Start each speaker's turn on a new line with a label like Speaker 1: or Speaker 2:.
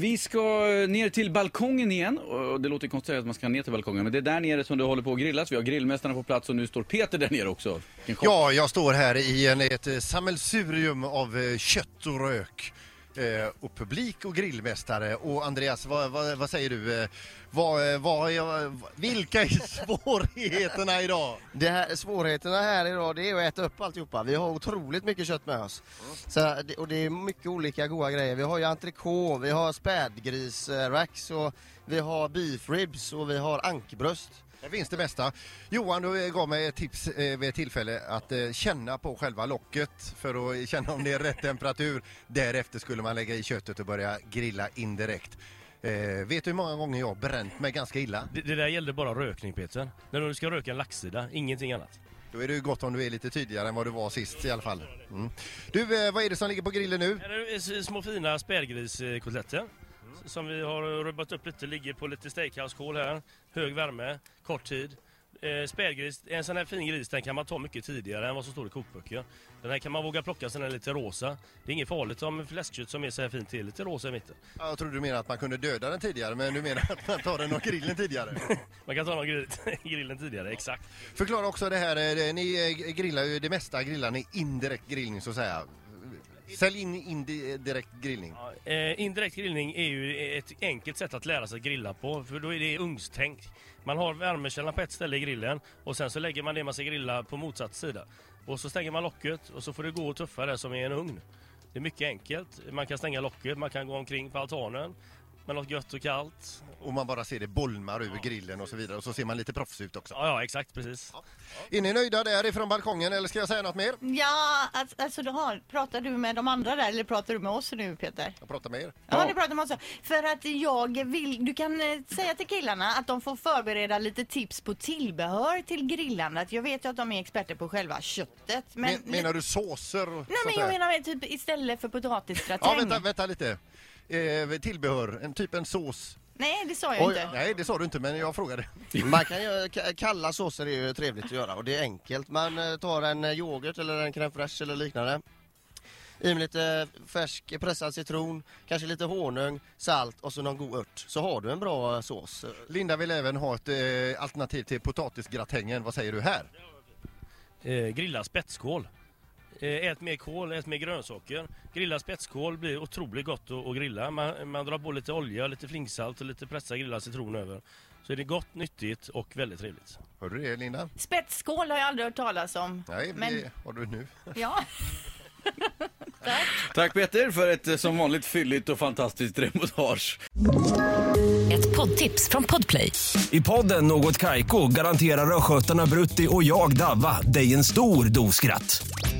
Speaker 1: Vi ska eh, ner till balkongen igen. Och det låter konstigt att man ska ner till balkongen, men det är där nere som du håller på att grillas. Vi har grillmästarna på plats och nu står Peter där nere också. Vilken chock.
Speaker 2: Ja, jag står här i en, ett eh, sammelsurium av eh, kött och rök. Eh, och publik och grillmästare. Och Andreas, vad, vad, vad säger du? Eh, vad, eh, vad, är- vilka är svårigheterna idag?
Speaker 3: Det här, svårigheterna här idag det är att äta upp alltihopa. Vi har otroligt mycket kött med oss.
Speaker 2: Mm.
Speaker 3: Så, det- och det är mycket olika goda grejer. Vi har ju entrecote, vi har spädgris, eh, rax och vi har beef ribs och vi har ankbröst.
Speaker 2: Där finns det mesta. Johan, du eh, gav mig ett tips eh, vid ett tillfälle att eh, känna på själva locket för att känna om det är rätt temperatur. Därefter skulle man lägga i köttet och börja grilla indirekt. Eh, vet du hur många gånger jag har bränt mig ganska illa?
Speaker 4: Det, det där gällde bara rökning Peter. När du ska röka en laxsida, ingenting annat.
Speaker 2: Då är det ju gott om du är lite tydligare än vad du var sist i alla fall. Mm. Du, eh, vad är det som ligger på grillen nu?
Speaker 4: Här är det eh, s- små fina spädgriskotletter. S- Som vi har rubbat upp lite, ligger på lite steakhousekol här. Hög värme, kort tid. Eh, spädgris, en sån här fin gris den kan man ta mycket tidigare än vad som står i kokböcker. Den här kan man våga plocka så den är lite rosa. Det är inget farligt om fläskkött som är så här fint är lite rosa i mitten.
Speaker 2: Ja, Jag trodde du menade att man kunde döda den tidigare, men du menar att man tar den och grillen tidigare.
Speaker 4: Man kan ta någon grill, grillen tidigare, exakt.
Speaker 2: Förklara också det här, eh, ni eh, grillar ju det mesta, grillar ni indirekt grillning så att säga. Sälj in indirekt grillning.
Speaker 4: Ja, eh, indirekt grillning är ju ett enkelt sätt att lära sig att grilla på, för då är det ugnstänk. Man har värmekällan på ett ställe i grillen och sen så lägger man det man ska grilla på motsatt sida. Och så stänger man locket och så får det gå och tuffa det som är en ugn. Det är mycket enkelt. Man kan stänga locket, man kan gå omkring på altanen med något gött och kallt.
Speaker 2: Och man bara ser det bolmar ur grillen och så vidare och så ser man lite proffs ut också.
Speaker 4: Ja, ja exakt precis.
Speaker 2: Är ni nöjda därifrån balkongen eller ska jag säga något mer?
Speaker 5: Ja, alltså, alltså du har, pratar du med de andra där eller pratar du med oss nu Peter?
Speaker 2: Jag pratar med er.
Speaker 5: Ja, du pratar med oss. För att jag vill, du kan eh, säga till killarna att de får förbereda lite tips på tillbehör till grillandet. Jag vet ju att de är experter på själva köttet. Men,
Speaker 2: Men, menar du såser? och
Speaker 5: Nej
Speaker 2: sånt
Speaker 5: men jag
Speaker 2: där?
Speaker 5: menar väl typ istället för
Speaker 2: Ja,
Speaker 5: potatisgratäng.
Speaker 2: vänta, vänta lite. Eh, tillbehör, en, typ en sås.
Speaker 5: Nej det sa jag
Speaker 3: Oj,
Speaker 5: inte.
Speaker 2: Nej, det sa du inte, men jag frågade.
Speaker 3: Man kan ju, ka- kalla såser är ju trevligt att göra och det är enkelt. Man eh, tar en eh, yoghurt eller en crème fraîche eller liknande. I med lite eh, färsk pressad citron, kanske lite honung, salt och så någon god ört. Så har du en bra eh, sås.
Speaker 2: Linda vill även ha ett eh, alternativ till potatisgratängen. Vad säger du här?
Speaker 4: Eh, grilla spetskål. Eh, ät mer kål, ät mer grönsaker. Grilla spetskål blir otroligt gott att, att grilla. Man, man drar på lite olja, lite flingsalt och lite pressad grillad citron över. Så är det gott, nyttigt och väldigt trevligt.
Speaker 2: Hörde du det, Linda?
Speaker 5: Spetsskål har jag aldrig hört talas om.
Speaker 2: Nej,
Speaker 5: Men-
Speaker 2: det har du nu.
Speaker 5: Ja. Tack.
Speaker 1: Tack Peter för ett eh, som vanligt fylligt och fantastiskt reportage.
Speaker 6: Ett poddtips från Podplay.
Speaker 7: I podden Något Kaiko garanterar östgötarna Brutti och jag, Davva, dig en stor dos skratt.